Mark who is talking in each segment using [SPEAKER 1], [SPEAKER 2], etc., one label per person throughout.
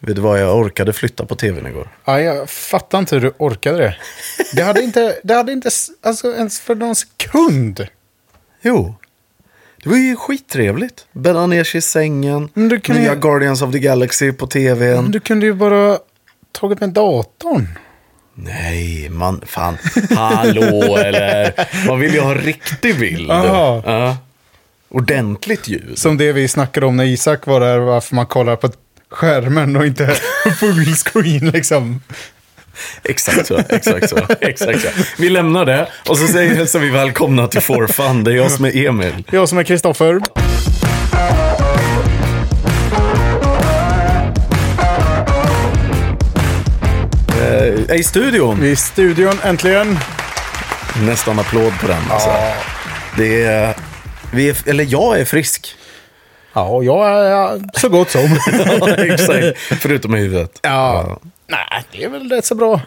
[SPEAKER 1] Vet du vad, jag orkade flytta på tvn igår.
[SPEAKER 2] Ja, jag fattar inte hur du orkade det. Det hade inte, det hade inte s- alltså, ens för någon sekund.
[SPEAKER 1] Jo. Det var ju skittrevligt. Bädda ner sig i sängen.
[SPEAKER 2] Men du kan
[SPEAKER 1] nya
[SPEAKER 2] ju-
[SPEAKER 1] Guardians of the Galaxy på tvn.
[SPEAKER 2] Men du kunde ju bara tagit med datorn.
[SPEAKER 1] Nej, man, fan. Hallå eller? Man vill ju ha en riktig bild.
[SPEAKER 2] Aha.
[SPEAKER 1] Ja. Ordentligt ljus.
[SPEAKER 2] Som det vi snackade om när Isak var där, varför man kollar på skärmen och inte full screen liksom.
[SPEAKER 1] Exakt så, exakt så, exakt så. Vi lämnar det och så säger hälsar vi välkomna till For Fun. Det är jag som är Emil.
[SPEAKER 2] Jag som är Kristoffer.
[SPEAKER 1] Eh, I studion.
[SPEAKER 2] Vi är i studion äntligen.
[SPEAKER 1] Nästan applåd på den alltså. Det är, vi är, eller jag är frisk.
[SPEAKER 2] Ja, och jag är så gott som.
[SPEAKER 1] Ja, exakt. Förutom i huvudet.
[SPEAKER 2] ja. Nej, det är väl rätt så bra.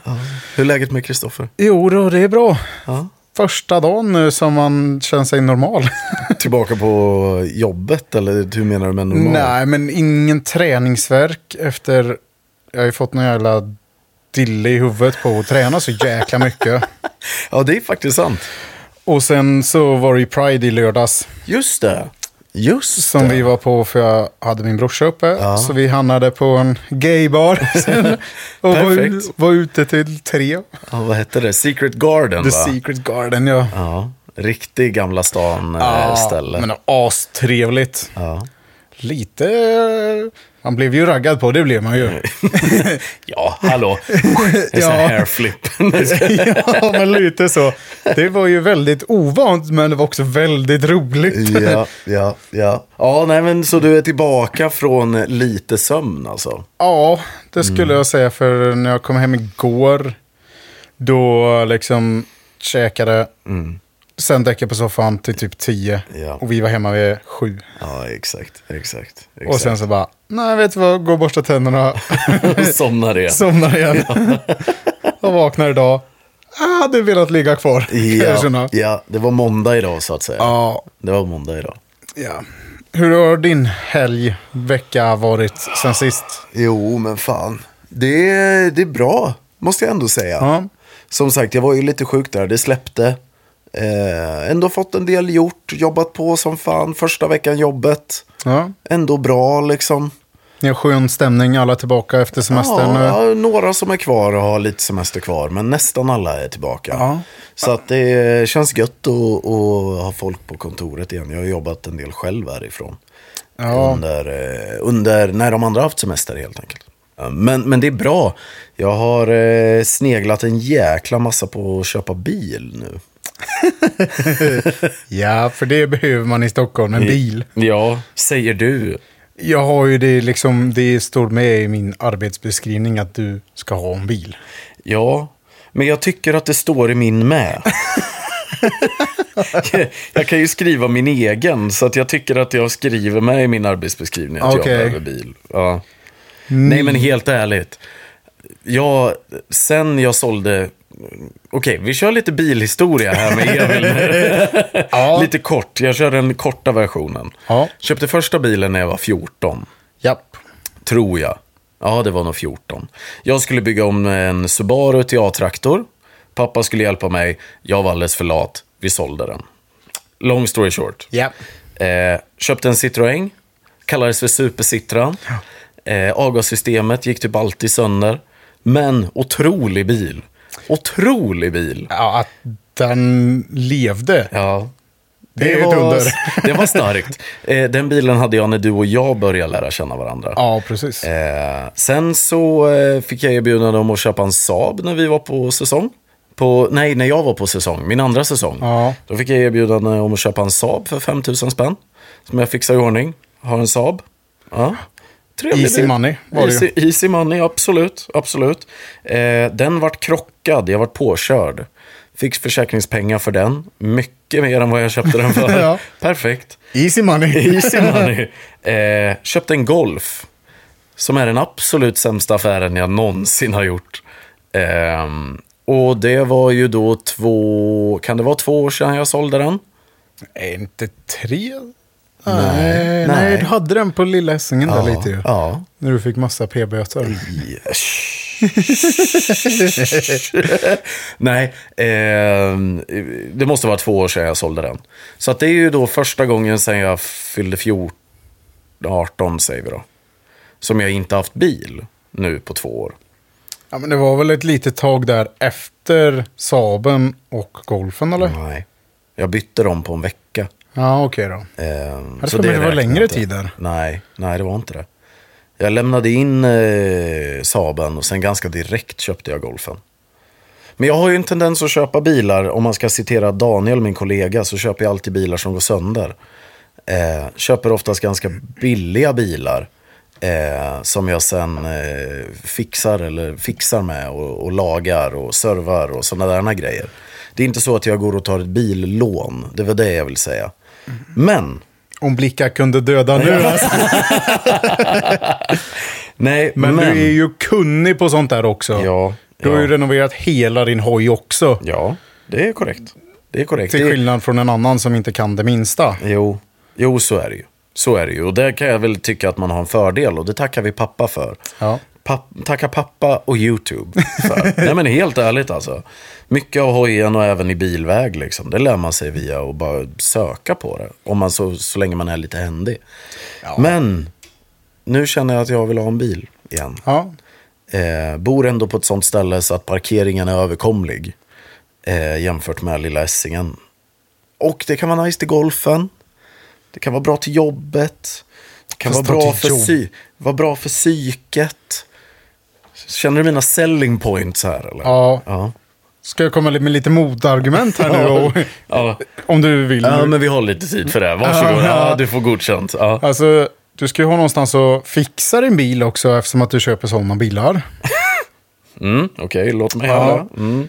[SPEAKER 1] Hur är läget med Kristoffer?
[SPEAKER 2] Jo då, det är bra.
[SPEAKER 1] Ja.
[SPEAKER 2] Första dagen nu som man känner sig normal.
[SPEAKER 1] Tillbaka på jobbet eller hur menar du med normal?
[SPEAKER 2] Nej, men ingen träningsverk efter... Jag har ju fått någon jävla dille i huvudet på att träna så jäkla mycket.
[SPEAKER 1] Ja, det är faktiskt sant.
[SPEAKER 2] Och sen så var det ju Pride i lördags
[SPEAKER 1] Just det. Just
[SPEAKER 2] som
[SPEAKER 1] det.
[SPEAKER 2] vi var på för jag hade min brorsa uppe. Så vi hamnade på en gaybar sen. Och var,
[SPEAKER 1] Perfekt.
[SPEAKER 2] u- var ute till tre.
[SPEAKER 1] Ja, vad hette det? Secret Garden,
[SPEAKER 2] The
[SPEAKER 1] va?
[SPEAKER 2] Secret Garden ja.
[SPEAKER 1] ja, riktig Gamla stan-ställe.
[SPEAKER 2] men astrevligt.
[SPEAKER 1] ja.
[SPEAKER 2] Lite... eh, Man blev ju raggad på, det blev man
[SPEAKER 1] Mm.
[SPEAKER 2] ju.
[SPEAKER 1] ja, hallå. Det är
[SPEAKER 2] Ja.
[SPEAKER 1] sån här hairflip.
[SPEAKER 2] ja, men lite så. Det var ju väldigt ovant, men det var också väldigt roligt.
[SPEAKER 1] ja, ja, ja. Ja, nej men så du är tillbaka från lite sömn alltså?
[SPEAKER 2] Ja, det skulle
[SPEAKER 1] Mm.
[SPEAKER 2] jag säga, för när jag kom hem igår, då liksom käkade, sen däckade på soffan till typ 10
[SPEAKER 1] Mm. Ja.
[SPEAKER 2] och vi var hemma vid 7.
[SPEAKER 1] Ja, exakt, exakt. exakt.
[SPEAKER 2] Och sen så bara, nej vet du vad, gå och borsta tänderna,
[SPEAKER 1] somnar igen.
[SPEAKER 2] somnar igen och vaknar idag. Jag hade velat ligga kvar, kan jag
[SPEAKER 1] Ja,
[SPEAKER 2] känna.
[SPEAKER 1] ja, det var måndag idag så att säga.
[SPEAKER 2] Ja,
[SPEAKER 1] Det var måndag idag.
[SPEAKER 2] Ja. Hur har din helg, vecka varit sen sist?
[SPEAKER 1] Jo, men fan. Det är, det är bra, måste jag ändå säga.
[SPEAKER 2] Ja.
[SPEAKER 1] Som sagt, jag var ju lite sjuk där, det släppte. Eh, ändå fått en del gjort, jobbat på som fan, första veckan jobbet.
[SPEAKER 2] ja.
[SPEAKER 1] Ändå bra liksom.
[SPEAKER 2] Ni har skön stämning, alla tillbaka efter semestern.
[SPEAKER 1] Ja,
[SPEAKER 2] nu.
[SPEAKER 1] ja, några som är kvar och har lite semester kvar, men nästan alla är tillbaka.
[SPEAKER 2] Ja.
[SPEAKER 1] Så att det känns gött att, att ha folk på kontoret igen. Jag har jobbat en del själv härifrån.
[SPEAKER 2] Ja.
[SPEAKER 1] Under, eh, under när de andra haft semester helt enkelt. Ja, Men, men det är bra. Jag har eh, sneglat en jäkla massa på att köpa bil nu.
[SPEAKER 2] ja, för det behöver man i Stockholm, en bil.
[SPEAKER 1] Ja, säger du.
[SPEAKER 2] Jag har ju det liksom, det står med i min arbetsbeskrivning att du ska ha en bil.
[SPEAKER 1] Ja, men jag tycker att det står i min med. jag kan ju skriva min egen, så att jag tycker att jag skriver med i min arbetsbeskrivning att
[SPEAKER 2] Okej. Mm.
[SPEAKER 1] jag behöver bil. Ja. Nej, men helt ärligt. Jag, sen jag sålde... Okej, vi kör lite bilhistoria här med Emil.
[SPEAKER 2] Ja.
[SPEAKER 1] lite kort, jag kör den korta versionen.
[SPEAKER 2] Ja.
[SPEAKER 1] Köpte första bilen när jag var 14.
[SPEAKER 2] Japp.
[SPEAKER 1] Tror jag. Ja, det var nog 14. Jag skulle bygga om en Subaru till A-traktor. Pappa skulle hjälpa mig. Jag var alldeles för lat. Vi sålde den. Long story short.
[SPEAKER 2] Japp.
[SPEAKER 1] Eh, köpte en Citroën. Kallades för Super Citroën. Eh, avgassystemet gick typ alltid sönder. Men otrolig bil. Otrolig bil.
[SPEAKER 2] Ja, att den levde.
[SPEAKER 1] Ja.
[SPEAKER 2] Det är ju ett under.
[SPEAKER 1] det var starkt. Eh, den bilen hade jag när du och jag började lära känna varandra.
[SPEAKER 2] Ja, precis.
[SPEAKER 1] Eh, sen så eh, fick jag erbjudande om att köpa en Saab när vi var på säsong. På, nej, när jag var på säsong, min andra säsong.
[SPEAKER 2] Ja.
[SPEAKER 1] Då fick jag erbjudande om att köpa en Saab för 5000 spänn. Som jag fixade i ordning. Har en Saab. Ja. Trevlig
[SPEAKER 2] Easy
[SPEAKER 1] bil.
[SPEAKER 2] money var det ju.
[SPEAKER 1] easy, easy money, absolut. absolut. Eh, den vart krockad, jag vart påkörd. Fick försäkringspengar för den. Mycket mer än vad jag köpte den för.
[SPEAKER 2] Ja.
[SPEAKER 1] Perfekt.
[SPEAKER 2] Easy money.
[SPEAKER 1] Easy money. Eh, köpte en Golf. Som är den absolut sämsta affären jag någonsin har gjort. Ehm, och det var ju då två, kan det vara två år sedan jag sålde den?
[SPEAKER 2] Är inte tre? Nej, nej,
[SPEAKER 1] nej.
[SPEAKER 2] du hade den på Lilla Essingen där lite ju.
[SPEAKER 1] Ja.
[SPEAKER 2] När du fick massa p-böter.
[SPEAKER 1] Nej, eh, det måste vara två år sedan jag sålde den. Så att det är ju då första gången sedan jag fyllde 14, 18 säger vi då. Som jag inte haft bil nu på två år.
[SPEAKER 2] Ja, men det var väl ett litet tag där efter Saben och golfen eller?
[SPEAKER 1] Nej. Jag bytte dem på en vecka.
[SPEAKER 2] Ja, okej då.
[SPEAKER 1] Ehm,
[SPEAKER 2] Jag trodde det var
[SPEAKER 1] räknar
[SPEAKER 2] längre
[SPEAKER 1] inte.
[SPEAKER 2] tid där.
[SPEAKER 1] Nej, nej, det var inte det. Jag lämnade in eh, Saben och sen ganska direkt köpte jag Golfen. Men jag har ju en tendens att köpa bilar, om man ska citera Daniel, min kollega, så köper jag alltid bilar som går sönder. Eh, köper oftast ganska billiga bilar eh, som jag sen eh, fixar eller fixar med och, och lagar och servar och sådana där grejer. Det är inte så att jag går och tar ett billån, det var det jag vill säga. Men
[SPEAKER 2] Om blickar kunde döda nu alltså.
[SPEAKER 1] Nej,
[SPEAKER 2] Men, du är ju kunnig på sånt där också.
[SPEAKER 1] Ja,
[SPEAKER 2] Du har
[SPEAKER 1] ja.
[SPEAKER 2] ju renoverat hela din hoj också.
[SPEAKER 1] Ja, det är korrekt. Det är korrekt.
[SPEAKER 2] Till
[SPEAKER 1] Det-
[SPEAKER 2] skillnad från en annan som inte kan det minsta.
[SPEAKER 1] Jo. jo, så är det ju. Så är det ju. Och där kan jag väl tycka att man har en fördel och det tackar vi pappa för.
[SPEAKER 2] Ja.
[SPEAKER 1] Papp- tacka pappa och YouTube för. Nej men helt ärligt alltså. Mycket av hojen och även i bilväg liksom, det lär man sig via att bara söka på det. Om man så, så länge man är lite händig. Men, nu känner jag att jag vill ha en bil igen.
[SPEAKER 2] Ja,
[SPEAKER 1] Eh, bor ändå på ett sånt ställe så att parkeringen är överkomlig. Eh, jämfört med lilla Essingen. Och det kan vara nice till golfen. Det kan vara bra till jobbet. Det kan vara
[SPEAKER 2] Fast
[SPEAKER 1] bra,
[SPEAKER 2] ta till
[SPEAKER 1] för
[SPEAKER 2] jobb.
[SPEAKER 1] psy- vara bra för psyket. Känner du mina selling points här eller?
[SPEAKER 2] Ja.
[SPEAKER 1] Ja,
[SPEAKER 2] Ska jag komma med lite motargument här nu? Och,
[SPEAKER 1] ja.
[SPEAKER 2] om du vill.
[SPEAKER 1] ja men vi har lite tid för det. Varsågod.
[SPEAKER 2] Ja.
[SPEAKER 1] Ja, du får godkänt. Ja.
[SPEAKER 2] Alltså, du ska ju ha någonstans att fixa din bil också eftersom att du köper sådana bilar.
[SPEAKER 1] Mm, Okej, låt mig
[SPEAKER 2] Ja.
[SPEAKER 1] höra. Mm.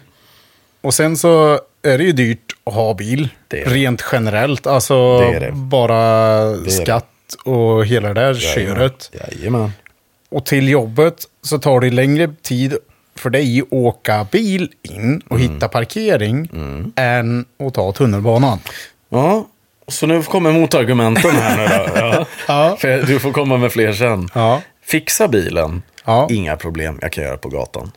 [SPEAKER 2] Och sen så är det ju dyrt att ha bil.
[SPEAKER 1] Det är det.
[SPEAKER 2] rent generellt. Alltså
[SPEAKER 1] Det är det.
[SPEAKER 2] bara
[SPEAKER 1] det.
[SPEAKER 2] skatt och hela det där köret.
[SPEAKER 1] Jajamän.
[SPEAKER 2] Och till jobbet så tar det längre tid för dig att åka bil in och
[SPEAKER 1] Mm.
[SPEAKER 2] hitta parkering än att ta tunnelbanan.
[SPEAKER 1] Ja, så nu kommer motargumenten här nu då. Ja.
[SPEAKER 2] Ja.
[SPEAKER 1] För du får komma med fler sen.
[SPEAKER 2] Ja.
[SPEAKER 1] Fixa bilen,
[SPEAKER 2] Ja.
[SPEAKER 1] inga problem, jag kan göra på gatan.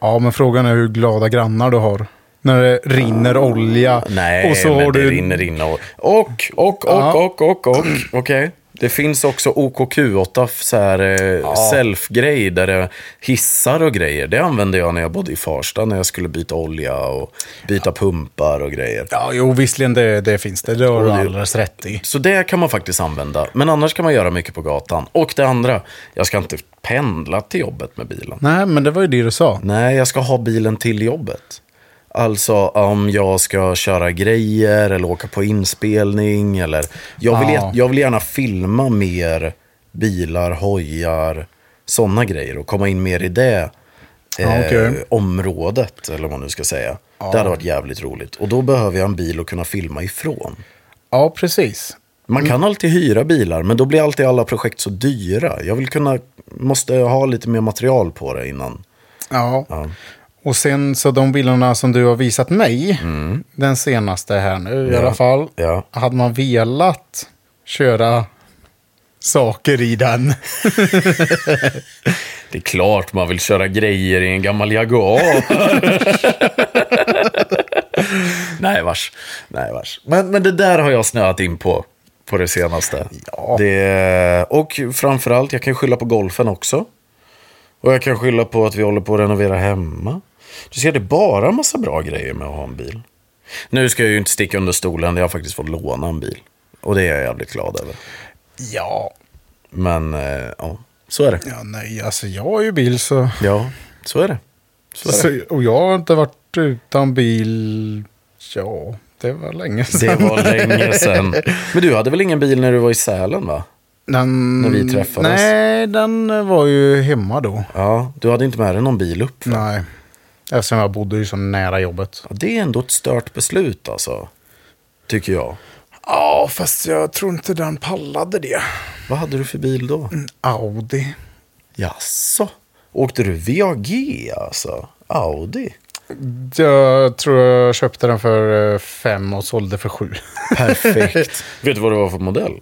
[SPEAKER 2] Ja, men frågan är hur glada grannar du har. När det rinner olja.
[SPEAKER 1] Ah, Nej,
[SPEAKER 2] och så
[SPEAKER 1] men
[SPEAKER 2] har
[SPEAKER 1] det
[SPEAKER 2] du...
[SPEAKER 1] rinner in och... Och, och, och,
[SPEAKER 2] Ja.
[SPEAKER 1] och, och, och. Okej. Det finns också OKQ8, så här eh, self-grej, där det hissar och grejer. Det använde jag när jag bodde i Farsta, när jag skulle byta olja och byta pumpar och grejer.
[SPEAKER 2] Ja, jo, visserligen det, det finns det. Det har du alldeles rätt i.
[SPEAKER 1] Så det kan man faktiskt använda. Men annars kan man göra mycket på gatan. Och det andra, jag ska inte pendla till jobbet med bilen.
[SPEAKER 2] Nej, men det var ju det du sa.
[SPEAKER 1] Nej, jag ska ha bilen till jobbet. Alltså om jag ska köra grejer eller åka på inspelning eller... Jag vill,
[SPEAKER 2] Ja.
[SPEAKER 1] jag vill gärna filma mer bilar, hojar, sådana grejer och komma in mer i det eh,
[SPEAKER 2] Ja, okej.
[SPEAKER 1] området, eller vad man nu ska säga. Det hade varit jävligt roligt. Och då behöver jag en bil att kunna filma ifrån.
[SPEAKER 2] Ja, precis.
[SPEAKER 1] Man kan alltid hyra bilar, men då blir alltid alla projekt så dyra. Jag vill kunna, måste ha lite mer material på det innan.
[SPEAKER 2] Ja. Och sen så de bilderna som du har visat mig, den senaste här nu i alla fall,
[SPEAKER 1] Ja.
[SPEAKER 2] hade man velat köra saker i den.
[SPEAKER 1] Det är klart man vill köra grejer i en gammal Jaguar. Nej, vars. Nej, vars. Men, men det där har jag snöat in på, på det senaste.
[SPEAKER 2] Ja.
[SPEAKER 1] Det, och framförallt, jag kan skylla på golfen också. Och jag kan skylla på att vi håller på att renovera hemma. Du ser, det är bara en massa bra grejer med att ha en bil. Nu ska jag ju inte sticka under stolen, jag har faktiskt fått låna en bil. Och det är jag jävligt glad över.
[SPEAKER 2] Ja.
[SPEAKER 1] Men, eh, ja, så är det.
[SPEAKER 2] ja, nej, alltså jag har ju bil så...
[SPEAKER 1] Ja, så är det. Så är det.
[SPEAKER 2] så och jag har inte varit utan bil, ja, det var länge
[SPEAKER 1] Det
[SPEAKER 2] sedan.
[SPEAKER 1] var länge sedan. Men du hade väl ingen bil när du var i Sälen va?
[SPEAKER 2] Den,
[SPEAKER 1] när vi träffades.
[SPEAKER 2] Nej, den var ju hemma då.
[SPEAKER 1] Ja, du hade inte med dig någon bil upp. va?
[SPEAKER 2] Nej, eftersom jag bodde ju så nära jobbet.
[SPEAKER 1] Ja, det är ändå ett stört beslut alltså. Tycker jag.
[SPEAKER 2] Ja, fast jag tror inte den pallade det.
[SPEAKER 1] Vad hade du för bil då?
[SPEAKER 2] Audi.
[SPEAKER 1] Jaså? Åkte du VAG alltså? Audi?
[SPEAKER 2] Jag tror jag köpte den för eh, fem och sålde för sju.
[SPEAKER 1] Perfekt. Vet du vad det var för modell?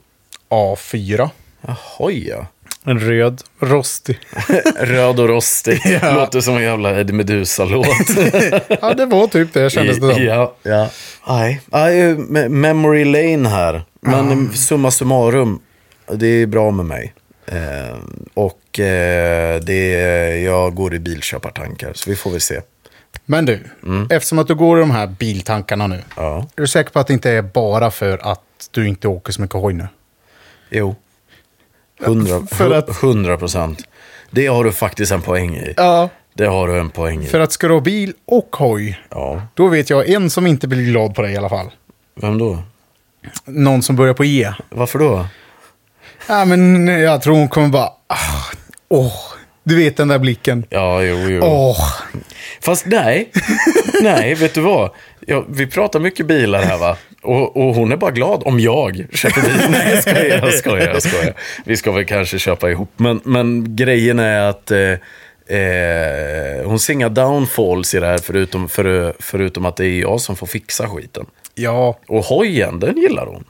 [SPEAKER 2] A4.
[SPEAKER 1] Jaha, ja.
[SPEAKER 2] En röd, rostig.
[SPEAKER 1] Röd och rostig. Låter som en jävla Eddie Meduza-låt.
[SPEAKER 2] Ja, det var typ det kändes det som.
[SPEAKER 1] ja, ja. Nej, nej, eh, me- memory lane här. Men eh, summa summarum, det är bra med mig. Eh, och eh, det, jag går i bilköpartankar, så vi får väl se.
[SPEAKER 2] Men du, eftersom att du går i de här biltankarna nu.
[SPEAKER 1] Ja.
[SPEAKER 2] Är du säker på att det inte är bara för att du inte åker så mycket hoj nu?
[SPEAKER 1] Jo. 100,
[SPEAKER 2] För att-
[SPEAKER 1] 100 procent. Det har du faktiskt en poäng i.
[SPEAKER 2] Ja.
[SPEAKER 1] Det har du en poäng i.
[SPEAKER 2] För att ska du ha bil och hoj,
[SPEAKER 1] Ja.
[SPEAKER 2] då vet jag en som inte blir glad på dig i alla fall.
[SPEAKER 1] Vem då?
[SPEAKER 2] Någon som börjar på E.
[SPEAKER 1] Varför då?
[SPEAKER 2] Ja, men jag tror hon kommer bara... "Ah, Åh, du vet den där blicken.
[SPEAKER 1] Ja, jo, jo.
[SPEAKER 2] Åh,
[SPEAKER 1] Fast nej, nej, vet du vad? Ja, vi pratar mycket bilar här va? Och, och hon är bara glad om jag köper bil. Nej, jag skojar, jag skojar, jag skojar. Vi ska väl kanske köpa ihop. Men, men grejen är att eh, eh, hon ser inga downfalls i det här förutom, för, förutom att det är jag som får fixa skiten.
[SPEAKER 2] ja,
[SPEAKER 1] Och hojen, den gillar hon.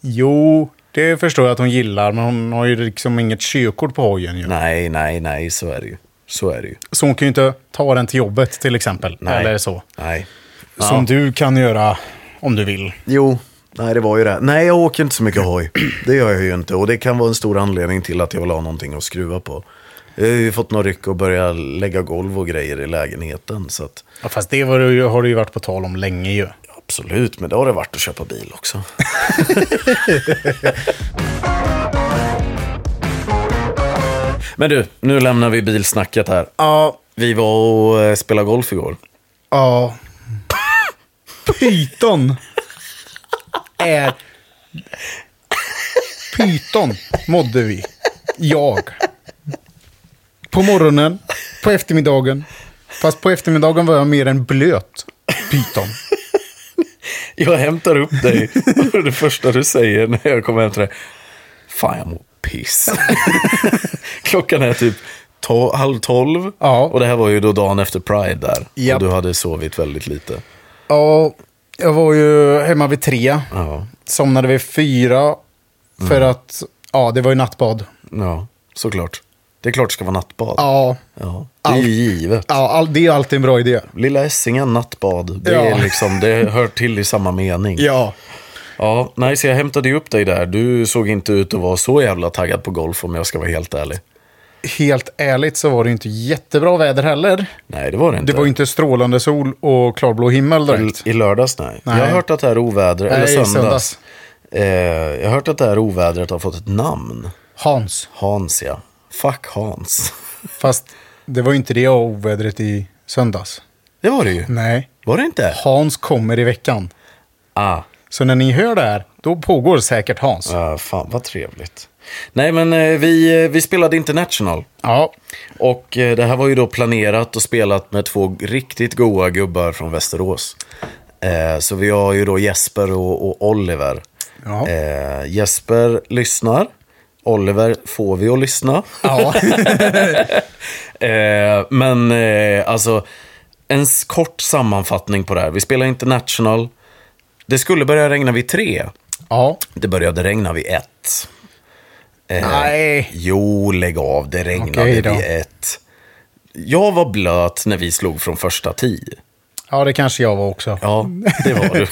[SPEAKER 2] jo, det förstår jag att hon gillar, men hon har ju liksom inget körkort på hojen ju.
[SPEAKER 1] Nej, nej, nej, så är det ju. Så är det ju.
[SPEAKER 2] Så hon kan ju inte ta den till jobbet till exempel,
[SPEAKER 1] Nej.
[SPEAKER 2] eller så.
[SPEAKER 1] Nej.
[SPEAKER 2] Som du kan göra om du vill.
[SPEAKER 1] Jo, nej det var ju det. Nej, jag åker inte så mycket hoj. Det gör jag ju inte. Och det kan vara en stor anledning till att jag vill ha någonting att skruva på. Jag har ju fått några ryck och börja lägga golv och grejer i lägenheten. Så att,
[SPEAKER 2] Ja, fast det var, det ju- har det ju varit på tal om länge ju.
[SPEAKER 1] absolut, men det har det varit att köpa bil också. men du, nu lämnar vi bilsnacket här.
[SPEAKER 2] Ja,
[SPEAKER 1] Vi var och eh, spelade golf igår.
[SPEAKER 2] ja. Pyton är... Pyton mådde vi. Jag. På morgonen, på eftermiddagen. Fast på eftermiddagen var jag mer en blöt pyton.
[SPEAKER 1] Jag hämtar upp dig och det första du säger när jag kommer hem till dig. Fan, jag mår piss. Klockan är typ to- halv tolv.
[SPEAKER 2] Ja.
[SPEAKER 1] Och det här var ju då dagen efter Pride där.
[SPEAKER 2] Japp.
[SPEAKER 1] Och du hade sovit väldigt lite.
[SPEAKER 2] Ja, jag var ju hemma vid tre.
[SPEAKER 1] Ja,
[SPEAKER 2] Somnade vid fyra. För att, ja, det var ju nattbad.
[SPEAKER 1] ja såklart. Det är klart det ska vara nattbad.
[SPEAKER 2] Ja,
[SPEAKER 1] Ja, Det är ju givet.
[SPEAKER 2] ja all, det är alltid en bra idé.
[SPEAKER 1] Lilla Essingen, nattbad. Det,
[SPEAKER 2] Ja.
[SPEAKER 1] är liksom, det hör till i samma mening.
[SPEAKER 2] Ja.
[SPEAKER 1] Ja, nej, så jag hämtade ju upp dig där. Du såg inte ut att vara så jävla taggad på golf om jag ska vara helt ärlig.
[SPEAKER 2] Helt ärligt så var det ju inte jättebra väder heller.
[SPEAKER 1] Nej, det var det inte.
[SPEAKER 2] Det var ju inte strålande sol och klarblå himmel direkt.
[SPEAKER 1] I lördags nej.
[SPEAKER 2] Nej.
[SPEAKER 1] Jag har hört att det här ovädret,
[SPEAKER 2] Nej,
[SPEAKER 1] eller
[SPEAKER 2] i
[SPEAKER 1] söndags.
[SPEAKER 2] söndags.
[SPEAKER 1] Eh, jag har hört att det här ovädret har fått ett namn.
[SPEAKER 2] Hans.
[SPEAKER 1] Hans ja. Fuck Hans.
[SPEAKER 2] Fast det var ju inte det ovädret i söndags.
[SPEAKER 1] Det var det ju.
[SPEAKER 2] Nej.
[SPEAKER 1] Var det inte?
[SPEAKER 2] Hans kommer i veckan.
[SPEAKER 1] Ah,
[SPEAKER 2] Så när ni hör det här, då pågår säkert Hans. Ja.
[SPEAKER 1] eh, fan vad trevligt. Nej men eh, vi, eh, vi spelade International. Och eh, det här var ju då planerat och spelat med två riktigt goa gubbar från Västerås. Eh, så vi har ju då Jesper och, och Oliver.
[SPEAKER 2] Ja.
[SPEAKER 1] Eh, Jesper lyssnar. Oliver får vi att lyssna.
[SPEAKER 2] Ja.
[SPEAKER 1] Eh, men eh, alltså, en s- kort sammanfattning på det här. Vi spelar International. Det skulle börja regna vid tre.
[SPEAKER 2] ja.
[SPEAKER 1] Det började regna vid ett. Eh,
[SPEAKER 2] Nej.
[SPEAKER 1] Jo, lägg av. Det regnade
[SPEAKER 2] Okej då.
[SPEAKER 1] vid ett. Jag var blöt när vi slog från första tio.
[SPEAKER 2] Ja, det kanske jag var också. Ja.
[SPEAKER 1] Ja, det var du.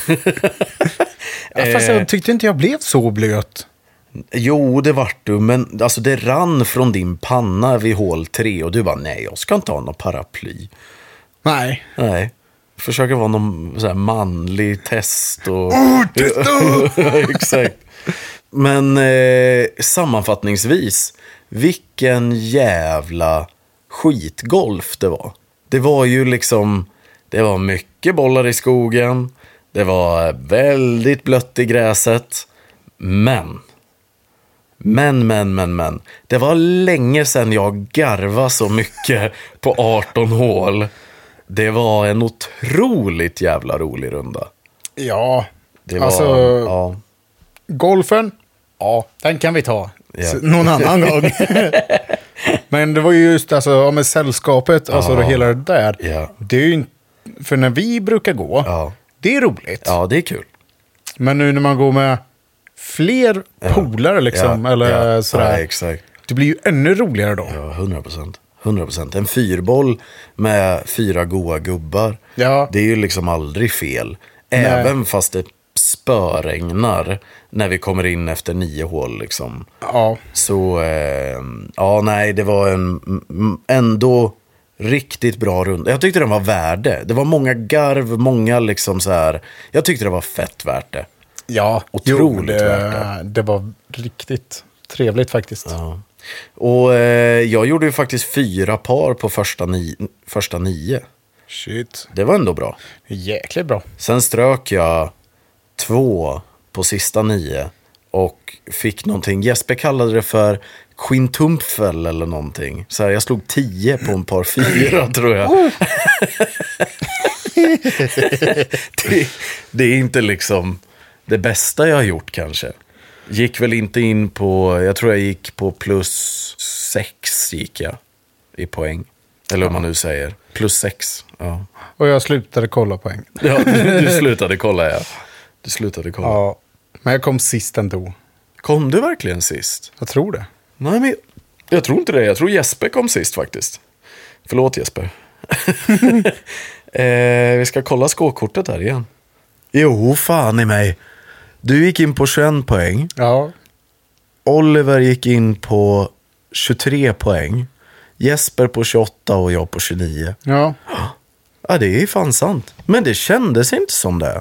[SPEAKER 2] Fast
[SPEAKER 1] Eh.
[SPEAKER 2] jag tyckte inte jag blev så blöt.
[SPEAKER 1] Jo, det vart du, men alltså det rann från din panna vid hål tre och du bara nej, jag ska inte ha någon paraply.
[SPEAKER 2] Nej.
[SPEAKER 1] Nej. Försöka vara någon så här manlig test och... Exakt. Men eh, sammanfattningsvis, vilken jävla skitgolf det var. Det var ju liksom, det var mycket bollar i skogen, det var väldigt blött i gräset, men men, men, men, men. Det var länge sedan jag garvade så mycket på 18 hål. Det var en otroligt jävla rolig runda.
[SPEAKER 2] Ja.
[SPEAKER 1] Det var,
[SPEAKER 2] alltså,
[SPEAKER 1] ja.
[SPEAKER 2] golfen. Ja, den kan vi ta.
[SPEAKER 1] Ja.
[SPEAKER 2] S- Någon annan gång. men det var ju just alltså, ja, med sällskapet, alltså
[SPEAKER 1] Ja.
[SPEAKER 2] hela det där.
[SPEAKER 1] Ja.
[SPEAKER 2] Det är ju in- För när vi brukar gå,
[SPEAKER 1] Ja.
[SPEAKER 2] det är roligt.
[SPEAKER 1] Ja, det är kul.
[SPEAKER 2] Men nu när man går med fler polare liksom,
[SPEAKER 1] ja,
[SPEAKER 2] eller
[SPEAKER 1] ja,
[SPEAKER 2] sådär.
[SPEAKER 1] Ja, exakt.
[SPEAKER 2] det blir ju ännu roligare då.
[SPEAKER 1] Ja, 100 procent. 100 procent. En fyrboll med fyra goa gubbar.
[SPEAKER 2] Ja.
[SPEAKER 1] Det är ju liksom aldrig fel. Även fast det spöregnar när vi kommer in efter nio hål liksom.
[SPEAKER 2] Ja.
[SPEAKER 1] Så, eh, ja nej, det var en m- ändå riktigt bra runda. Jag tyckte den var värd det. Det var många garv, många liksom så här. Jag tyckte det var fett värt det.
[SPEAKER 2] Ja,
[SPEAKER 1] Otroligt
[SPEAKER 2] jo, det,
[SPEAKER 1] värt
[SPEAKER 2] det var riktigt trevligt faktiskt.
[SPEAKER 1] Ja. Och eh, jag gjorde ju faktiskt fyra par på första, ni- första nio.
[SPEAKER 2] Shit.
[SPEAKER 1] Det var ändå bra.
[SPEAKER 2] Jäkligt bra.
[SPEAKER 1] Sen strök jag två på sista nio och fick någonting. Jesper kallade det för skintumpfel eller någonting. Så här, jag slog tio på en par fyra tror jag. det, det är inte liksom det bästa jag har gjort kanske. Gick väl inte in på, jag tror jag gick på plus sex gick jag i poäng. Eller vad man nu säger. Plus sex. Ja.
[SPEAKER 2] Och jag slutade kolla poäng.
[SPEAKER 1] Ja, du, du slutade kolla ja. Du slutade kolla.
[SPEAKER 2] Ja. Men jag kom sist ändå.
[SPEAKER 1] Kom du verkligen sist?
[SPEAKER 2] Jag tror det.
[SPEAKER 1] Nej, men jag tror inte det. Jag tror Jesper kom sist faktiskt. Förlåt Jesper. eh, vi ska kolla skåkortet här igen. Jo, fan i mig. Du gick in på 21 poäng.
[SPEAKER 2] Ja.
[SPEAKER 1] Oliver gick in på 23 poäng. Jesper på 28 och jag på 29.
[SPEAKER 2] Ja.
[SPEAKER 1] Ja, det är fan sant. Men det kändes inte som det.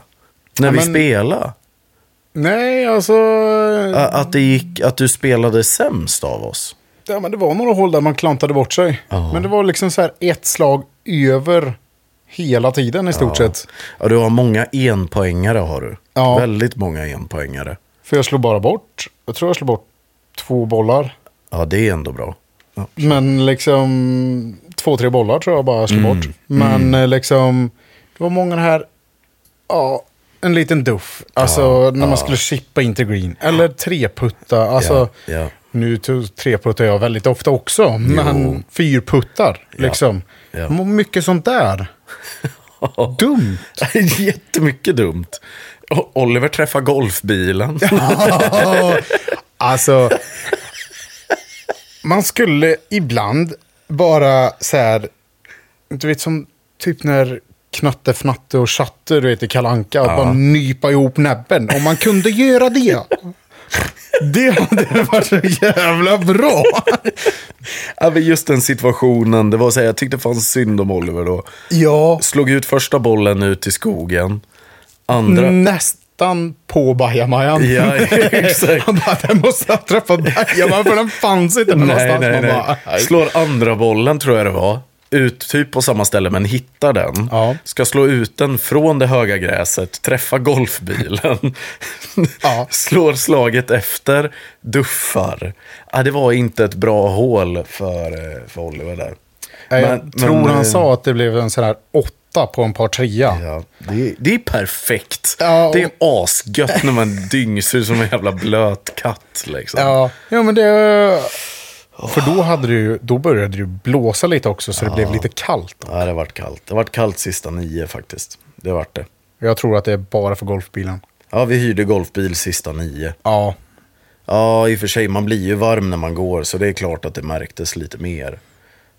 [SPEAKER 1] När
[SPEAKER 2] Ja,
[SPEAKER 1] vi
[SPEAKER 2] men-
[SPEAKER 1] spelade.
[SPEAKER 2] Nej, alltså.
[SPEAKER 1] A- Att, det gick, att du spelade sämst av oss.
[SPEAKER 2] Ja, men det var några hål där man klantade bort sig.
[SPEAKER 1] Ja.
[SPEAKER 2] Men det var liksom så här ett slag över hela tiden i stort sett.
[SPEAKER 1] Ja, du har många enpoängare har du.
[SPEAKER 2] Ja.
[SPEAKER 1] Väldigt många enpoängare.
[SPEAKER 2] För jag slog bara bort. Jag tror jag slog bort två bollar.
[SPEAKER 1] Ja, det är ändå bra. Ja.
[SPEAKER 2] Men liksom två, tre bollar tror jag bara slog
[SPEAKER 1] Mm.
[SPEAKER 2] bort. Men eh, liksom, det var många här, ja, en liten duff. Alltså när man skulle chippa in till green. Eller treputta. Alltså,
[SPEAKER 1] Ja, ja.
[SPEAKER 2] nu to- treputtar jag väldigt ofta också. Men fyrputtar, liksom.
[SPEAKER 1] ja.
[SPEAKER 2] M- Mycket sånt där. Dumt.
[SPEAKER 1] Jättemycket dumt. O- Oliver träffar golfbilen.
[SPEAKER 2] alltså, man skulle ibland bara så här, du vet som typ när Knatte, Fnatte och Chatte, du vet i Kalle Anka, bara nypa ihop näbben. Om man kunde göra det. Det hade varit så jävla bra.
[SPEAKER 1] ja, men just den situationen, det var så här, jag tyckte fan synd om Oliver då.
[SPEAKER 2] Ja,
[SPEAKER 1] Slog ut första bollen ut i skogen.
[SPEAKER 2] Mm.
[SPEAKER 1] Andra...
[SPEAKER 2] nästan på bajamajan.
[SPEAKER 1] Ja, exakt.
[SPEAKER 2] Han bara, den måste ha träffat bajamajan för den fanns inte
[SPEAKER 1] Nej,
[SPEAKER 2] någonstans.
[SPEAKER 1] nej,
[SPEAKER 2] Man bara,
[SPEAKER 1] nej. Slår andra bollen tror jag det var. Ut typ på samma ställe men hittar den.
[SPEAKER 2] Ja.
[SPEAKER 1] Ska slå ut den från det höga gräset, träffa golfbilen.
[SPEAKER 2] Ja.
[SPEAKER 1] Slår slaget efter, duffar. Ja, det var inte ett bra hål för, eh, för Oliver där.
[SPEAKER 2] Nej, Jag
[SPEAKER 1] Men-
[SPEAKER 2] tror
[SPEAKER 1] men, eh,
[SPEAKER 2] han sa att det blev en sån här åtta på en par trea.
[SPEAKER 1] Ja, det, är- det är perfekt.
[SPEAKER 2] Ja, och-
[SPEAKER 1] Det är asgött när man dyngsur som en jävla blöt katt. Liksom.
[SPEAKER 2] Ja, ja men det... För då, hade det ju, då började det ju blåsa lite också så det blev lite kallt.
[SPEAKER 1] Ja, det vart kallt. Det vart kallt sista nio faktiskt. Det vart det.
[SPEAKER 2] Jag tror att det är bara för golfbilen.
[SPEAKER 1] Ja, vi hyrde golfbil sista nio.
[SPEAKER 2] Ja,
[SPEAKER 1] Ja, i och för sig, man blir ju varm när man går, så det är klart att det märktes lite mer.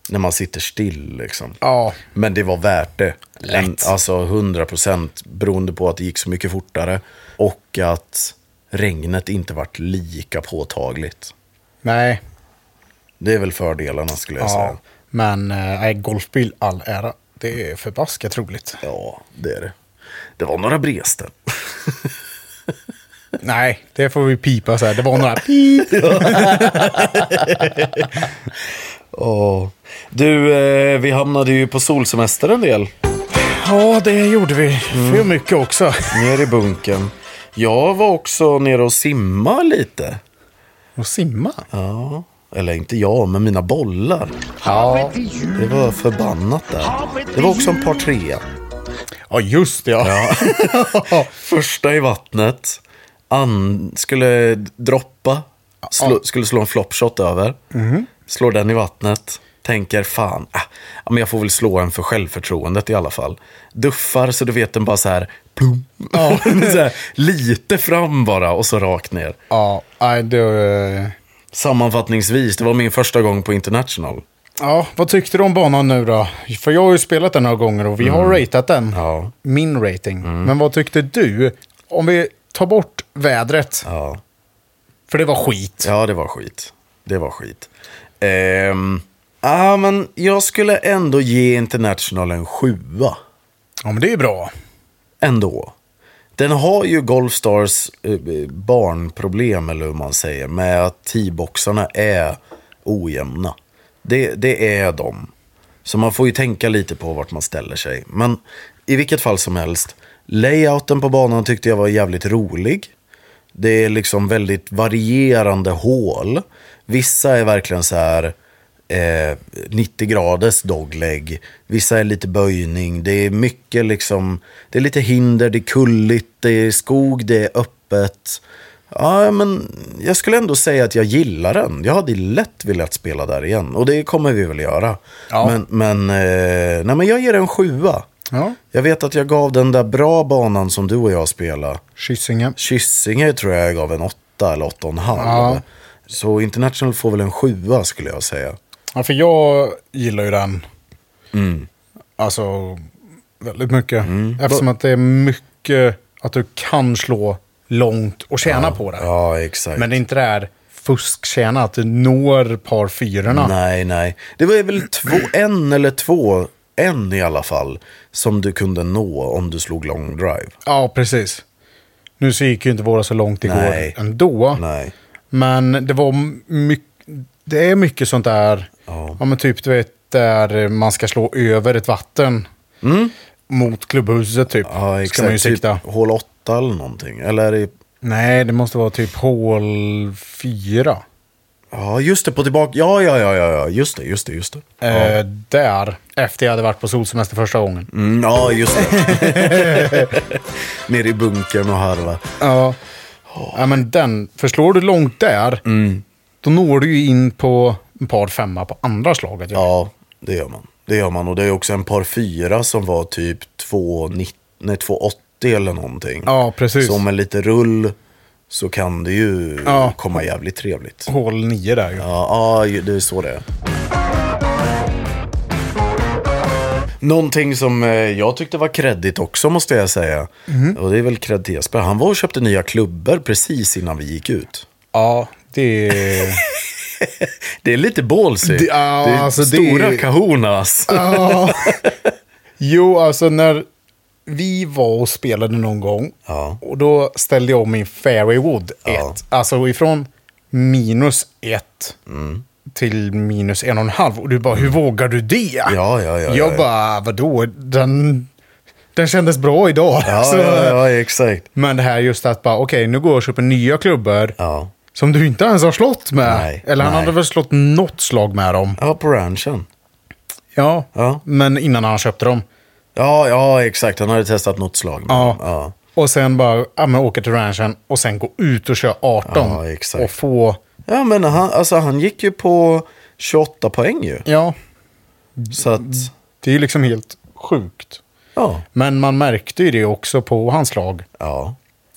[SPEAKER 1] När man sitter still liksom.
[SPEAKER 2] ja,
[SPEAKER 1] Men det var värt det.
[SPEAKER 2] Lätt.
[SPEAKER 1] En- Alltså 100% beroende på att det gick så mycket fortare. Och att regnet inte vart lika påtagligt.
[SPEAKER 2] nej.
[SPEAKER 1] Det är väl fördelarna skulle jag
[SPEAKER 2] Ja.
[SPEAKER 1] säga.
[SPEAKER 2] Men eh, nej, golfbil all ära. Det är förbaskat roligt.
[SPEAKER 1] Ja, det är det. Det var några brester.
[SPEAKER 2] Nej, det får vi pipa så här. Det var några pip.
[SPEAKER 1] Åh. Du, eh, vi hamnade ju på solsemester en del.
[SPEAKER 2] Ja, det gjorde vi.
[SPEAKER 1] Mm.
[SPEAKER 2] För mycket också.
[SPEAKER 1] Ner i bunkern. Jag var också nere och simma lite.
[SPEAKER 2] Och simma.
[SPEAKER 1] Ja, eller inte jag, men mina bollar.
[SPEAKER 2] Ja,
[SPEAKER 1] Det var förbannat där. Det var också en par trea.
[SPEAKER 2] ja just det. Ja.
[SPEAKER 1] Första i vattnet. An skulle droppa. Slå, skulle slå en flopshot över. Slår den i vattnet. Tänker fan, ah, ja, men jag får väl slå en för självförtroendet i alla fall. Duffar så du vet den bara så här, plum. så här lite fram bara och så rakt ner.
[SPEAKER 2] Ja, nej, det... eh,
[SPEAKER 1] Sammanfattningsvis, det var min första gång på International.
[SPEAKER 2] Ja, vad tyckte du om banan nu då? För jag har ju spelat den några gånger och vi har ratat den.
[SPEAKER 1] Mm. Ja. Mm.
[SPEAKER 2] Min rating. Men vad tyckte du? Om vi tar bort vädret,
[SPEAKER 1] Ja,
[SPEAKER 2] för det var skit.
[SPEAKER 1] ja det var skit. Det var skit. Ehm, ah, men jag skulle ändå ge International en sjua.
[SPEAKER 2] Ja, men det är ju bra.
[SPEAKER 1] ändå. Den har ju Golfstars eh, barnproblem, eller hur man säger, med att T-boxarna är ojämna. Det, det är de. Så man får ju tänka lite på vart man ställer sig. Men i vilket fall som helst, layouten på banan tyckte jag var jävligt rolig. Det är liksom väldigt varierande hål. Vissa är verkligen så här eh, 90 graders dogleg. Vissa är lite böjning. Det är mycket liksom, det är lite hinder, det är kulligt, det är skog, det är öppet. Ja, men jag skulle ändå säga att jag gillar den. Jag hade lätt velat spela där igen och det kommer vi väl göra.
[SPEAKER 2] Ja.
[SPEAKER 1] Men, men, eh, nej, men jag ger den sjua.
[SPEAKER 2] Ja,
[SPEAKER 1] Jag vet att jag gav den där bra banan som du och jag spelade.
[SPEAKER 2] Kyssingen.
[SPEAKER 1] Kyssinge tror jag gav en åtta eller åtta och en halv.
[SPEAKER 2] Ja.
[SPEAKER 1] Så International får väl en sjua skulle jag säga.
[SPEAKER 2] Ja, för jag gillar ju den.
[SPEAKER 1] Mm.
[SPEAKER 2] Alltså, väldigt mycket. Eftersom att det är mycket att du kan slå långt och tjäna på det.
[SPEAKER 1] Ja, exakt.
[SPEAKER 2] Men det är inte det här fusktjäna, att du når par fyrorna.
[SPEAKER 1] Nej, nej. Det var väl två, en eller två, en i alla fall, som du kunde nå om du slog long drive.
[SPEAKER 2] Ja, precis. Nu så gick ju inte våra så långt igår
[SPEAKER 1] Nej.
[SPEAKER 2] ändå.
[SPEAKER 1] Nej.
[SPEAKER 2] Men det var mycket, det är mycket sånt där,
[SPEAKER 1] Ja.
[SPEAKER 2] ja men typ du vet där man ska slå över ett vatten. Mot klubbhuset typ,
[SPEAKER 1] Mm. Ja, exakt.
[SPEAKER 2] ska man ju
[SPEAKER 1] Typ
[SPEAKER 2] sikta.
[SPEAKER 1] hål åtta eller någonting. Eller är det...
[SPEAKER 2] Nej, det måste vara typ hål fyra.
[SPEAKER 1] Ja, just det, på tillbaka. Ja, ja, ja, ja, ja. Just det, just det, just det.
[SPEAKER 2] Eh, där, efter jag hade varit på solsemester första gången.
[SPEAKER 1] Mm, ja, just det. Nere i bunkern och harva.
[SPEAKER 2] Ja. ja, men den, förslår du långt där,
[SPEAKER 1] Mm.
[SPEAKER 2] då når du ju in på en par femma på andra slaget. Ja.
[SPEAKER 1] Ja, det gör man. Det gör man. Och det är också en par fyra som var typ 2,90 nej, 2,80 eller någonting.
[SPEAKER 2] Ja, precis.
[SPEAKER 1] Så med lite rull så kan det ju
[SPEAKER 2] Ja.
[SPEAKER 1] komma jävligt trevligt.
[SPEAKER 2] Hål nio där ju.
[SPEAKER 1] Ja, ja, ju- det är så det är. Någonting som eh, jag tyckte var kreddigt också måste jag säga.
[SPEAKER 2] Mhm.
[SPEAKER 1] Och det är väl kredd till Jesper. Han var och köpte nya klubbor precis innan vi gick ut.
[SPEAKER 2] Ja, det är...
[SPEAKER 1] Det är lite ballsy.
[SPEAKER 2] Det- ja,
[SPEAKER 1] det är
[SPEAKER 2] alltså, det
[SPEAKER 1] stora
[SPEAKER 2] är-
[SPEAKER 1] kahonas.
[SPEAKER 2] Ja. Jo, alltså när vi var och spelade någon gång
[SPEAKER 1] Ja.
[SPEAKER 2] och då ställde jag om min fairwaywood 1.
[SPEAKER 1] Ja.
[SPEAKER 2] Alltså ifrån minus 1
[SPEAKER 1] Mm.
[SPEAKER 2] till minus en och en halv. Och du bara, hur vågar du det?
[SPEAKER 1] ja, ja, ja,
[SPEAKER 2] jag
[SPEAKER 1] ja.
[SPEAKER 2] bara, vadå? Den, den kändes bra idag.
[SPEAKER 1] Ja,
[SPEAKER 2] Så-
[SPEAKER 1] ja, ja, exakt.
[SPEAKER 2] Men det här just att bara, okej, nu går jag och köper nya klubbor
[SPEAKER 1] Ja.
[SPEAKER 2] som du inte ens har slått med.
[SPEAKER 1] Nej,
[SPEAKER 2] Eller han
[SPEAKER 1] nej.
[SPEAKER 2] hade väl slått något slag med dem.
[SPEAKER 1] Ja, på ranchen.
[SPEAKER 2] Ja,
[SPEAKER 1] Ja.
[SPEAKER 2] men innan han köpte dem.
[SPEAKER 1] Ja, ja, exakt. Han hade testat något slag. med
[SPEAKER 2] Ja.
[SPEAKER 1] den. ja.
[SPEAKER 2] Och sen bara ja, men åka till ranchen och sen gå ut och köra 18.
[SPEAKER 1] Ja, exakt.
[SPEAKER 2] Och få,
[SPEAKER 1] Ja, men han, alltså, han gick ju på 28 poäng ju.
[SPEAKER 2] ja,
[SPEAKER 1] Så att,
[SPEAKER 2] det är ju liksom helt sjukt.
[SPEAKER 1] ja.
[SPEAKER 2] Men man märkte ju det också på hans lag.
[SPEAKER 1] ja.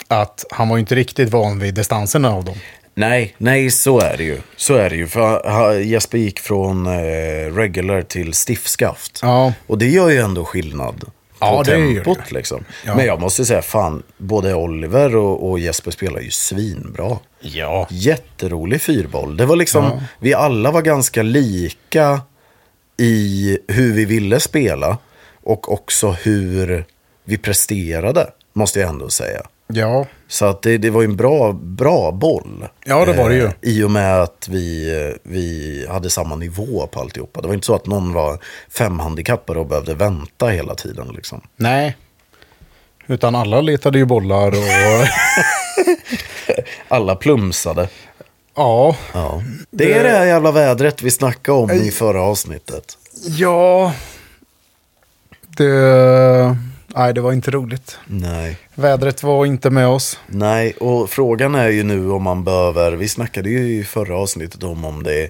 [SPEAKER 2] Att han var ju inte riktigt van vid distanserna av dem.
[SPEAKER 1] Nej, nej, så är det ju. Så är det ju. För ha- ha- Jesper gick från eh, regular till stiffskaft.
[SPEAKER 2] Ja.
[SPEAKER 1] Och det gör ju ändå skillnad. På
[SPEAKER 2] Ja, det gör
[SPEAKER 1] tempot
[SPEAKER 2] det.
[SPEAKER 1] liksom.
[SPEAKER 2] Ja.
[SPEAKER 1] Men jag måste säga, fan, både Oliver och, och Jesper spelar ju svinbra.
[SPEAKER 2] Ja.
[SPEAKER 1] Jätterolig fyrboll. Det var liksom, vi alla var ganska lika i hur vi ville spela och också hur vi presterade, måste jag ändå säga.
[SPEAKER 2] Ja.
[SPEAKER 1] Så att det, det var ju en bra, bra boll. Eh,
[SPEAKER 2] Ja, det var det ju.
[SPEAKER 1] I och med att vi, eh, vi hade samma nivå på alltihopa. Det var inte så att någon var femhandikappad och behövde vänta hela tiden. Liksom.
[SPEAKER 2] Nej. Utan alla letade ju bollar och...
[SPEAKER 1] Alla plumsade.
[SPEAKER 2] ja.
[SPEAKER 1] Ja. Det är det här jävla vädret vi snackade om i förra avsnittet.
[SPEAKER 2] Ja. Det... Nej, det var inte roligt.
[SPEAKER 1] Nej.
[SPEAKER 2] Vädret var inte med oss.
[SPEAKER 1] Nej, och frågan är ju nu om man behöver, vi snackade ju i förra avsnittet om om det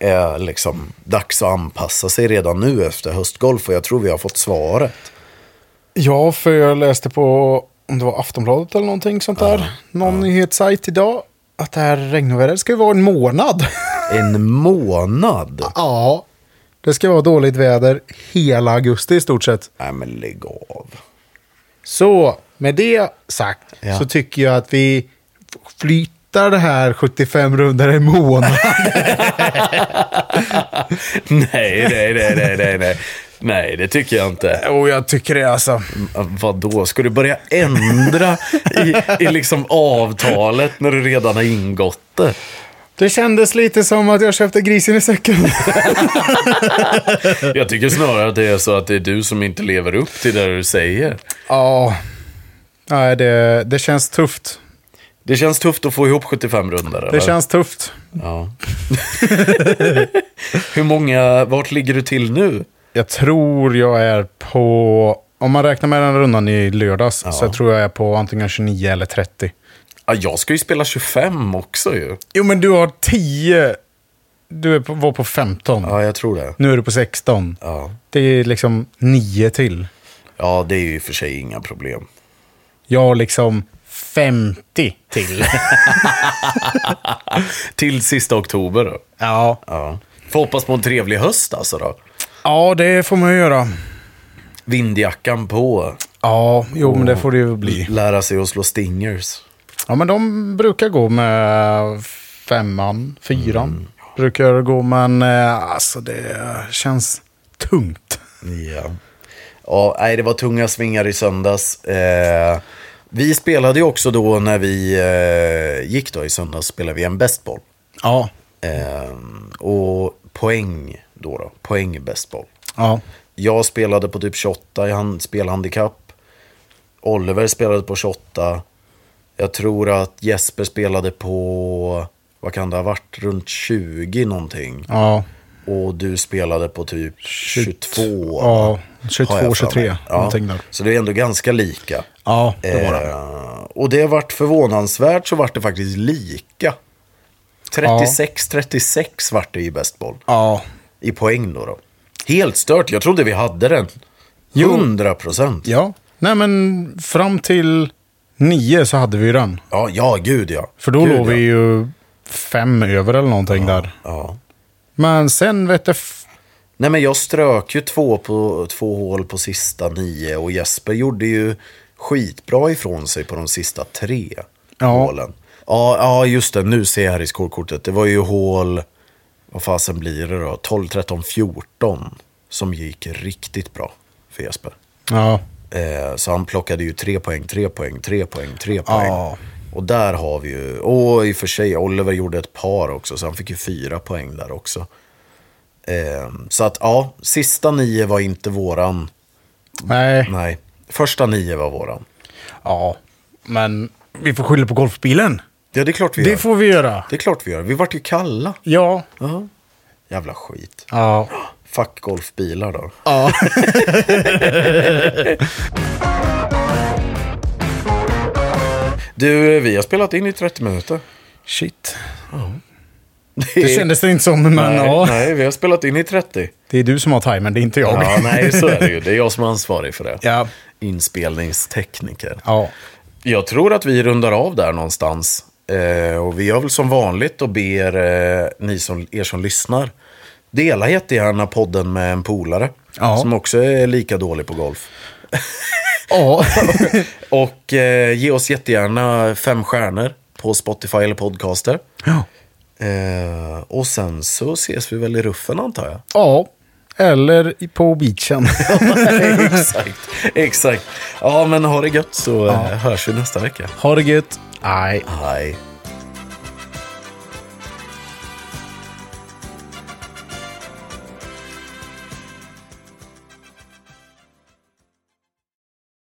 [SPEAKER 1] är liksom dags att anpassa sig redan nu efter höstgolf. Och jag tror vi har fått svaret.
[SPEAKER 2] Ja, för jag läste på, om det var Aftonbladet eller någonting sånt där, någon nyhetssajt idag, att det här regnovädret ska ju vara en månad.
[SPEAKER 1] En månad?
[SPEAKER 2] ja, det ska vara dåligt väder hela augusti i stort sett.
[SPEAKER 1] Nej men lägg av.
[SPEAKER 2] Så med det sagt
[SPEAKER 1] Ja.
[SPEAKER 2] så tycker jag att vi f- flyttar det här 75 rundor i månaden.
[SPEAKER 1] Nej, nej, nej, nej, nej, nej. Nej, det tycker jag inte.
[SPEAKER 2] Och jag tycker det alltså.
[SPEAKER 1] Vadå, ska du börja ändra i, i liksom avtalet när du redan har ingått det?
[SPEAKER 2] Det kändes lite som att jag köpte grisen i säcken.
[SPEAKER 1] Jag tycker snarare att det är så att det är du som inte lever upp till det du säger.
[SPEAKER 2] ja, nej det, det känns tufft.
[SPEAKER 1] Det känns tufft att få ihop 75 rundor, eller?
[SPEAKER 2] Det känns tufft.
[SPEAKER 1] Ja. Hur många, vart ligger du till nu?
[SPEAKER 2] Jag tror jag är på, om man räknar med den rundan i lördags, så jag tror jag är på antingen 29 eller 30.
[SPEAKER 1] Ja, jag ska ju spela 25 också ju.
[SPEAKER 2] Jo men du har 10, du är på, var på 15.
[SPEAKER 1] Ja, jag tror det.
[SPEAKER 2] Nu är du på 16.
[SPEAKER 1] Ja.
[SPEAKER 2] Det är liksom 9 till.
[SPEAKER 1] ja, det är ju i och för sig inga problem.
[SPEAKER 2] Jag har liksom 50 till.
[SPEAKER 1] Till sista oktober då.
[SPEAKER 2] ja.
[SPEAKER 1] Ja. Får hoppas på en trevlig höst alltså då.
[SPEAKER 2] ja, det får man ju göra.
[SPEAKER 1] Vindjackan på.
[SPEAKER 2] Ja, jo men det får det ju bli.
[SPEAKER 1] Lära sig att slå stingers.
[SPEAKER 2] Ja men de brukar gå med femman, fyran.
[SPEAKER 1] Mm.
[SPEAKER 2] Brukar gå men eh, alltså det känns tungt.
[SPEAKER 1] Ja. Ja, nej, det var tunga svingar i söndags. Eh, vi spelade ju också då när vi eh, gick då i söndags spelade vi en bäst boll.
[SPEAKER 2] Ja.
[SPEAKER 1] Eh, och poäng då, då poäng bäst boll.
[SPEAKER 2] Ja.
[SPEAKER 1] Jag spelade på typ 28 i hand, spelhandikapp. Oliver spelade på 28. Jag tror att Jesper spelade på, vad kan det ha varit, runt 20 någonting.
[SPEAKER 2] Ja.
[SPEAKER 1] Och du spelade på typ 22. har
[SPEAKER 2] Ja,
[SPEAKER 1] jag
[SPEAKER 2] 22,
[SPEAKER 1] för mig.
[SPEAKER 2] 23. Någonting där.
[SPEAKER 1] Så det är ändå ganska lika.
[SPEAKER 2] Ja, det var det.
[SPEAKER 1] Eh, och det vart förvånansvärt så vart det faktiskt lika. 36-36 vart det i bäst boll.
[SPEAKER 2] Ja.
[SPEAKER 1] I poäng då, då. Helt stört, jag trodde vi hade den. 100 procent.
[SPEAKER 2] Ja. Nej men fram till nio så hade vi ju den.
[SPEAKER 1] Ja, ja, gud ja.
[SPEAKER 2] För då
[SPEAKER 1] gud,
[SPEAKER 2] låg vi ju fem över eller någonting där.
[SPEAKER 1] Ja. Ja.
[SPEAKER 2] Men sen vet jag... f-
[SPEAKER 1] Nej, men jag strök ju två, på, två hål på sista nio och Jesper gjorde ju skitbra ifrån sig på de sista tre
[SPEAKER 2] Ja.
[SPEAKER 1] hålen. Ja, ja, just det. Nu ser jag här i skolkortet. Det var ju hål, vad fasen blir det då? 12, 13, 14 som gick riktigt bra för Jesper.
[SPEAKER 2] Ja.
[SPEAKER 1] Eh, så han plockade ju tre poäng, tre poäng, tre poäng, tre
[SPEAKER 2] Ja.
[SPEAKER 1] poäng. Och där har vi ju, och i och för sig, Oliver gjorde ett par också, så han fick ju fyra poäng där också. Eh, så att ja, sista nio var inte våran.
[SPEAKER 2] Nej.
[SPEAKER 1] Nej, första nio var våran.
[SPEAKER 2] Ja. Men vi får skylla på golfbilen.
[SPEAKER 1] Ja, det är klart vi gör.
[SPEAKER 2] Det får vi göra.
[SPEAKER 1] Det är klart vi gör. Vi vart ju kalla.
[SPEAKER 2] Ja.
[SPEAKER 1] Ja. Jävla skit.
[SPEAKER 2] Ja.
[SPEAKER 1] Fuck golfbilar då.
[SPEAKER 2] Ja.
[SPEAKER 1] Du, vi har spelat in i 30 minuter.
[SPEAKER 2] Shit.
[SPEAKER 1] är-
[SPEAKER 2] Det kändes det inte som, men
[SPEAKER 1] nej,
[SPEAKER 2] ja.
[SPEAKER 1] nej, vi har spelat in i 30.
[SPEAKER 2] Det är du som har timern, det är inte jag.
[SPEAKER 1] Ja, nej, så är det ju. Det är jag som är ansvarig för det.
[SPEAKER 2] Ja.
[SPEAKER 1] Inspelningstekniker.
[SPEAKER 2] Ja.
[SPEAKER 1] Jag tror att vi rundar av där någonstans. Eh, och vi gör väl som vanligt och ber eh, ni som, er som lyssnar dela jättegärna podden med en polare
[SPEAKER 2] Ja.
[SPEAKER 1] som också är lika dålig på golf.
[SPEAKER 2] Ja.
[SPEAKER 1] Och eh, ge oss jättegärna fem stjärnor på Spotify eller Podcaster.
[SPEAKER 2] ja.
[SPEAKER 1] Eh, och sen så ses vi väl i ruffen antar jag.
[SPEAKER 2] Ja. Eller i- på beachen.
[SPEAKER 1] exakt, exakt. Ja, men ha det gött så eh, hörs vi nästa vecka.
[SPEAKER 2] ha det gött. Nej.
[SPEAKER 1] Hej.